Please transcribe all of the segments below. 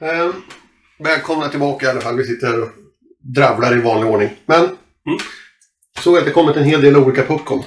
Ehm, välkomna tillbaka i alla fall. Vi sitter här och dravlar i vanlig ordning. Men Mm. så att det kommit en hel del olika popcorn.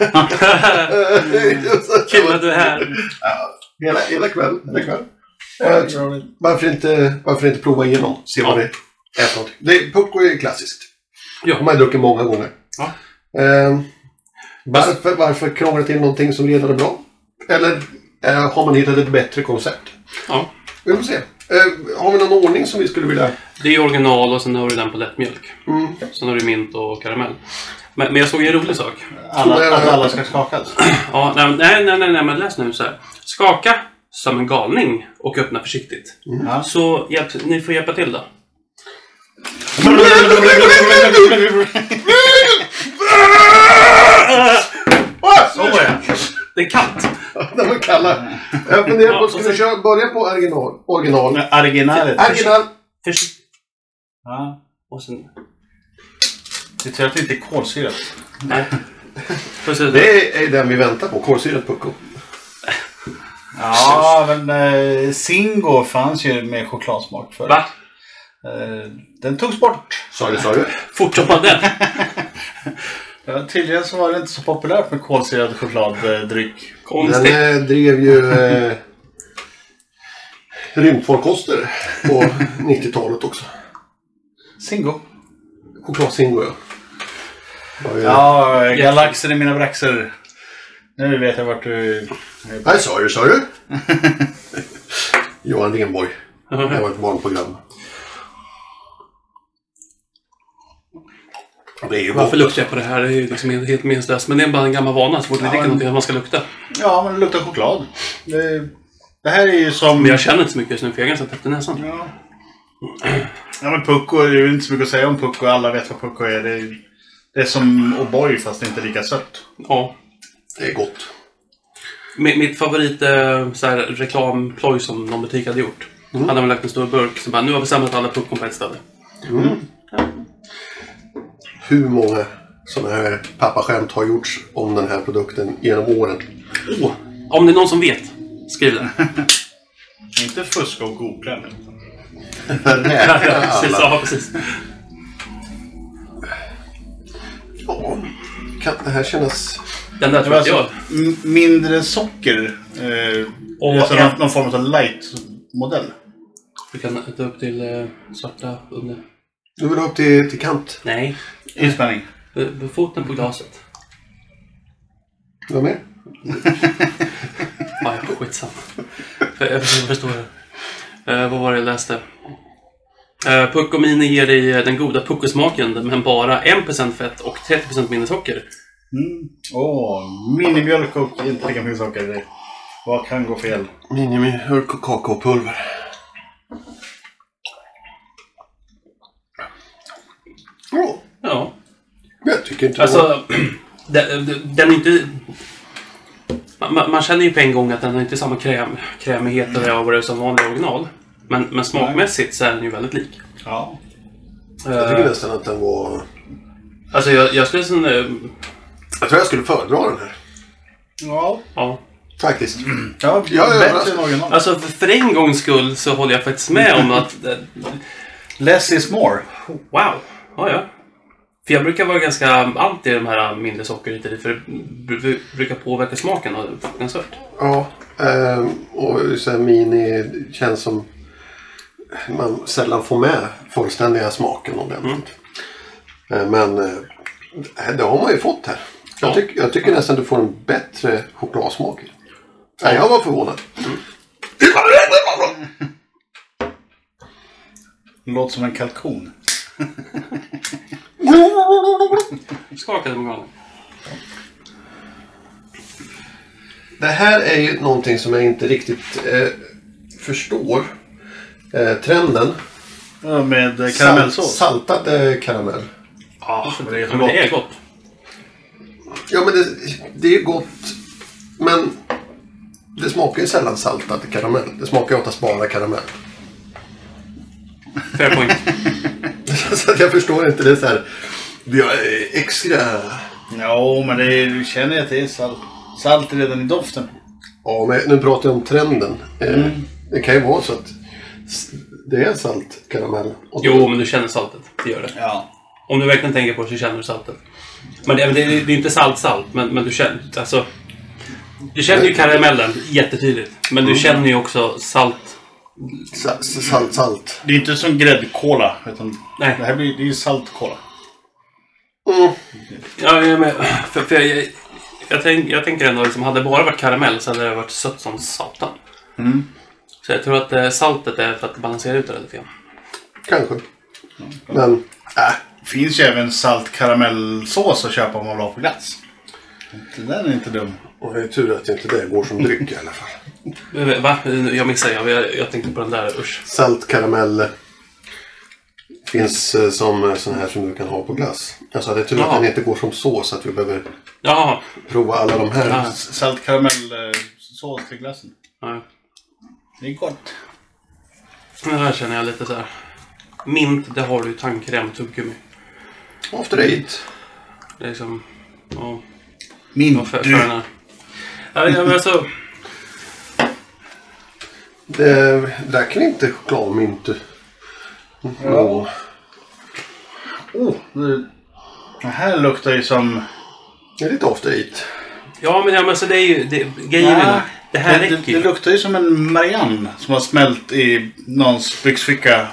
Mm. Kul att du är här. hela, hela kväll. Hela kväll. Eh, varför, inte, varför inte prova igenom? Se vad det är för någonting. Det, popcorn är ju klassiskt. Ja. De har jag druckit många gånger. Ja. Eh, varför, varför krångla till någonting som redan är bra? Eller eh, har man hittat ett bättre koncept? Ja. Vi får se. Eh, har vi någon ordning som vi skulle vilja... Det är original och sen har du den på lättmjölk. Mm. Sen har du mint och karamell. Men, men jag såg en rolig sak. Alla, att alla ska alltså. skakas. Ja, nej, nej, nej, nej, nej, men läs nu så här. Skaka som en galning och öppna försiktigt. Ja. Så hjälp, ni får hjälpa till då. Ah! Så ja. Det är kallt. När man kallar. Jag funderar på, ska vi köra, börja på original? Original. Originalet. Original. Försiktigt. Ja. Och sen... Det är tur att det inte är kolsyrat. Nej. Precis. Det är den vi väntar på. Kolsyrat pucko. Ja, men eh, Singo fanns ju med chokladsmak förr. Va? Eh, den togs bort. Sa du, sa du? Fort som padden. Ja, tydligen så var det inte så populärt med kolsyrad chokladdryck. Den Konstigt. eh, drev ju eh, rymdfarkoster på 90-talet också. Singo. Chokladzingo ja. Var ju- Ja, galaxer i mina braxer. Nu vet jag vart du... Nej, sa du, sa du? Johan Renborg. Det var ett barnprogram. Det är ju Varför gott. luktar jag på det här? Det är ju liksom helt, helt meningslöst. Men det är bara en gammal vana. Så fort vi dricker men- någonting att man ska lukta. Ja, men det luktar choklad. Det, det här är ju som... Men jag känner inte så mycket just nu för jag är ganska täppt i näsan. Ja. ja, men Pucko, det är ju inte så mycket att säga om Pucko. Alla vet vad Pucko är. Det är, det är som O'boy fast inte lika sött. Ja. Det är gott. Mi- Mitt favorit eh, så här, reklamploj som någon butik hade gjort. Hade man lagt en stor burk så bara nu har vi samlat alla puckon på ett ställe. Hur många sådana här pappaskämt har gjorts om den här produkten genom åren? Oh, om det är någon som vet, skriv det. Inte fuska och googla nu. Räkna precis, alla. ja, precis. Ja, kan det här kännas... Den där Det var tror inte jag. alltså m- mindre socker. Eh, Och alltså en- någon, någon form av light-modell. Vi kan ta upp till eh, svarta under. Du vill upp till, till kant. Nej, Inspänning. b- b- foten på glaset. Du var med? Ah, ja, skitsamma. För, jag förstår- jag förstår det. Eh, vad var det jag läste? Uh, Pucko Mini ger dig eh, den goda puckosmaken men bara 1% fett och 30% mindre socker. Mm. Åh, minimjölk och inte lika mycket socker. Det- Vad kan gå fel? Minimihörk och kakaopulver. Ja, Ja, jag tycker inte det var... Alltså, den, den- den är inte... Man, man- man känner ju på en gång att den har inte samma kräm, krämighet eller vad det är som vanlig original. Men, men smakmässigt så är den ju väldigt lik. Ja. Jag tycker Eh, nästan att den var... alltså jag, jag skulle sen, eh, Jag tror jag skulle föredra den här. Ja, ja. Faktiskt. ja, Jag är bättre överraskad. än original. Alltså för, för en gångs skull så håller jag faktiskt med om att... eh, Less is more. Wow! Ja, ja. För jag brukar vara ganska anti de här mindre socker hit och dit, för det br- br- brukar påverka smaken och fruktansvärt. Ja, ehm, och så här mini känns som man sällan får med fullständiga smaken ordentligt. Eh, Men eh, det har man ju fått här. Jag, Ja. tyck, jag tycker nästan du får en bättre chokladsmak. i. Nej, jag var förvånad. Låter som en kalkon. Skakade med galen. Det här är ju någonting som jag inte riktigt eh, förstår. Eh, trenden. Ja, med eh, karamellsås. Sal- saltad eh, karamell. Ja, men det är så men det är gott. Ja, men det, det är ju gott. Men det smakar ju sällan saltad karamell. Det smakar ju oftast bara karamell. Fair point. Så att jag förstår inte det så här. Vi har eh, extra... Ja, men det är, du känner att det är salt. Salt redan i doften. Ja, men nu pratar jag om trenden. Eh, Det kan ju vara så att s- det är salt karamell. Och Jo, men du känner saltet. Det gör det. Ja. Om du verkligen tänker på det så känner du saltet. Men det, men det, det är inte salt-salt, men, men du känner... Alltså, du känner ju karamellen jättetydligt. Men du känner ju också salt... sa- sa- Salt, salt. Det är inte som gräddkola. Utan Nej. Det här blir det är ju saltkola. Mm, Ja, jag, men, för, för jag, jag, jag, tänk, jag tänker ändå, liksom, hade det bara varit karamell så hade det varit sött som satan. Så jag tror att eh, saltet är för att balansera ut det lite grann. Kanske. Men, äh, finns ju även saltkaramellsås att köpa om man vill ha på glass. Den är inte dum. och det är tur att inte det går som dryck i alla fall. Eh, Va? Jag missade, jag, jag, jag tänkte på den där, usch. Salt karamell finns eh, som eh, sån här som du kan ha på glass. Alltså det är tur att Ja. den inte går som sås att vi behöver Jaha! prova alla de här. Ja. S- Saltkaramellsås till glassen. Ja. Det är gott. Det här känner jag lite så här. Mint, det har du ju tandkräm, tuggummi. After eight. Det är liksom... Ja, Min vad för, för du. den här. Ja, men alltså, Det drack ni inte chokladmynt? eh, Ja. Oh, nu. Det här luktar ju som... Det är lite after eight. ja, men, ja, men alltså, det är ju... Det, grejen är den, Det här det, räcker det, det ju. luktar ju som en Marianne som har smält i någons byxficka.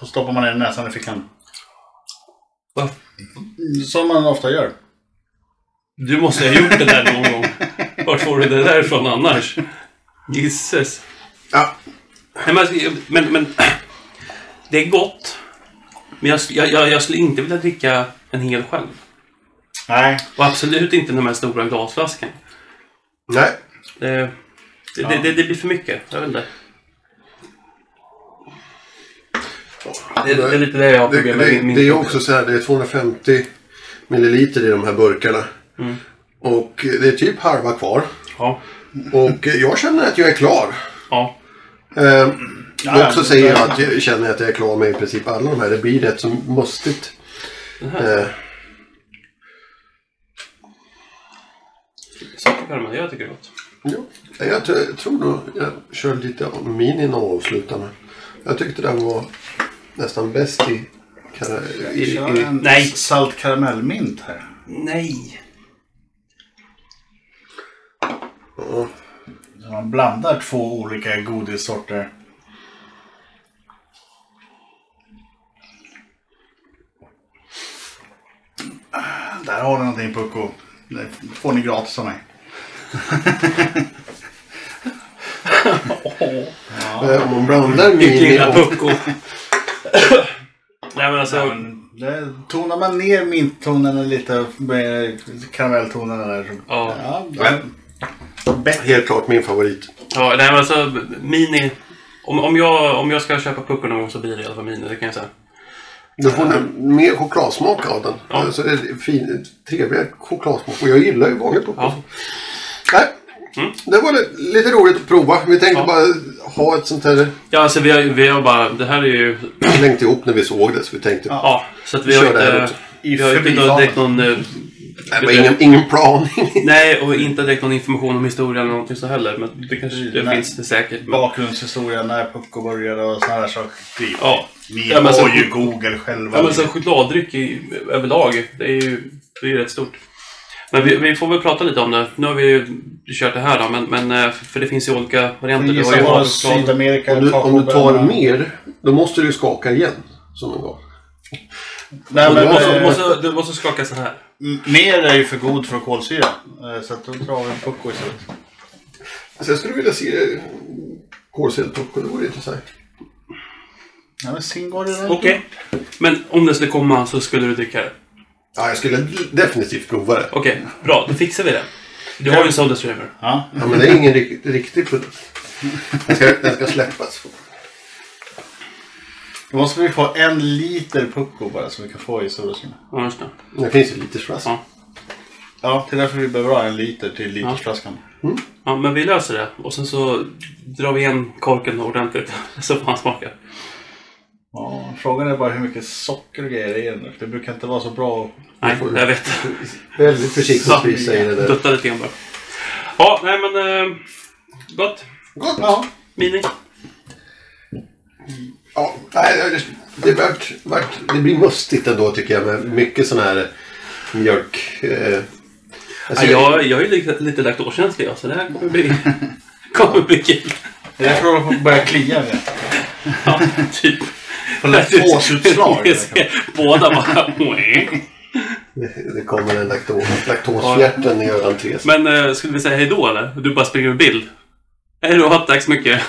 Så stoppar man ner näsan i fickan. Va? Som man ofta gör. Du måste ha gjort det där någon gång. Vart får du det där ifrån annars? Gisses. Ja. Nej, men, alltså, men, men... Det är gott. Men jag, jag, jag, jag skulle inte vilja dricka en hel själv. Nej. Och absolut inte den här stora glasflaskan. Nej. Det, det, det, det, det blir för mycket. Jag vet inte. Det, det är lite det jag har Det, problem med. det, min- det är också så här, det är 250 milliliter i de här burkarna. Mm. Och det är typ halva kvar. Ja. Och jag känner att jag är klar. ja. Eh, Ja, och så det- säger jag att jag känner att jag är klar med i princip alla de här. Det blir rätt så mustigt. Eh, Sockerkaramell, jag tycker det är gott. ja. Jag t- tror nog jag kör lite av minin och avslutar med. Jag tyckte den var nästan bäst i... kara- i, Kör en i Eh, Nej. saltkaramellmynt här. Nej! ja. Så man blandar två olika godissorter. Där har du någonting Pucko. Det får ni gratis av mig. Eh, Om man blandar mini Lilla och... pucko. Nej men alltså. Det, tonar man ner minttonerna lite med karamelltonerna där. så- Ja. ja bättre. Helt klart min favorit. Ja, nej men alltså mini. Om, om, jag, om jag ska köpa pucko någon gång så blir det i alla fall mini, det kan jag säga. Du får en mer chokladsmak av den. Ja. Alltså, det är fin, trevligare chokladsmak. Och jag gillar ju vanlig popcorn. Ja. Nej, Mm. Det var li- lite roligt att prova. Vi tänkte Ja. bara ha ett sånt här... Ja, alltså vi har, vi har bara, det här är ju, Längt ihop när vi såg det. Så vi tänkte... ja, så att vi har Kör det här också. inte, I vi har inte förbifarten. direkt någon eh, Det var "Äh, ingen, ingen plan. Nej, och inte direkt någon information om historia eller någonting så heller. Men det kanske det Nej. finns det säkert. Men, Bakgrundshistoria när Pucko började och sådana där saker. ja. Ni Ja, men så- har ju Google själva. ja, men så chokladdryck i, överlag, det är ju det är ju rätt stort. Men vi, vi får väl prata lite om det. Nu har vi ju kört det här då, men, men eh, för det finns ju olika varianter. Det var ju Gissa vad choklad. Sydamerika... Om du, om du tar kakaobönorna- mer, då måste du skaka igen. Som en gång. Nej, Du men, måste, du eh, måste, du måste skaka så här. m- mer är ju för god för kolsyra. Eh, Så att då tar vi en pucko istället. Så Alltså, jag skulle vilja se eh, kolsyltpopcorn. Det vore intressant. Nej, men Singor är den. Okej. Men om det skulle komma så skulle du dricka det? Ja, jag skulle definitivt prova det. Okej, bra. Då fixar vi det. Du har ju en Soda Streamer. Ja. Ja, men det är ingen rik- riktig produkt. Den ska, den ska släppas. Då måste vi få en liter pucko bara så vi kan få i solosina. Ja, just det. Det finns ju lite slask. Ja. Ja, det är därför vi behöver ha en liter till litersflaskan. Ja, men vi löser det. Och sen så drar vi igen korken ordentligt. Så får han smaka. Ja, frågan är bara hur mycket socker och grejer det är i den. Det brukar inte vara så bra. Nej, får du. jag vet. Väldigt försiktigt säger det där. Dutta lite grann bara. Ja, nej men... Eh, gott. Alltså, Gott. Ja. Mini. Ja, nej, det, det, vart, vart, det blir mustigt ändå tycker jag med mycket sån här mjölk... Eh, alltså, ja, jag, jag är ju lite, lite laktokänslig jag, så det här kommer bli, kommer bli kul. Det är därför jag håller på att börja klia igen. Ja, typ. På laktasutslag. Ni ser Båda bara... det, det kommer en laktos, laktoshjärten i Göran Tres. Men eh, skulle vi säga hej då eller? Du bara springer med bild. Hej då, tack så mycket.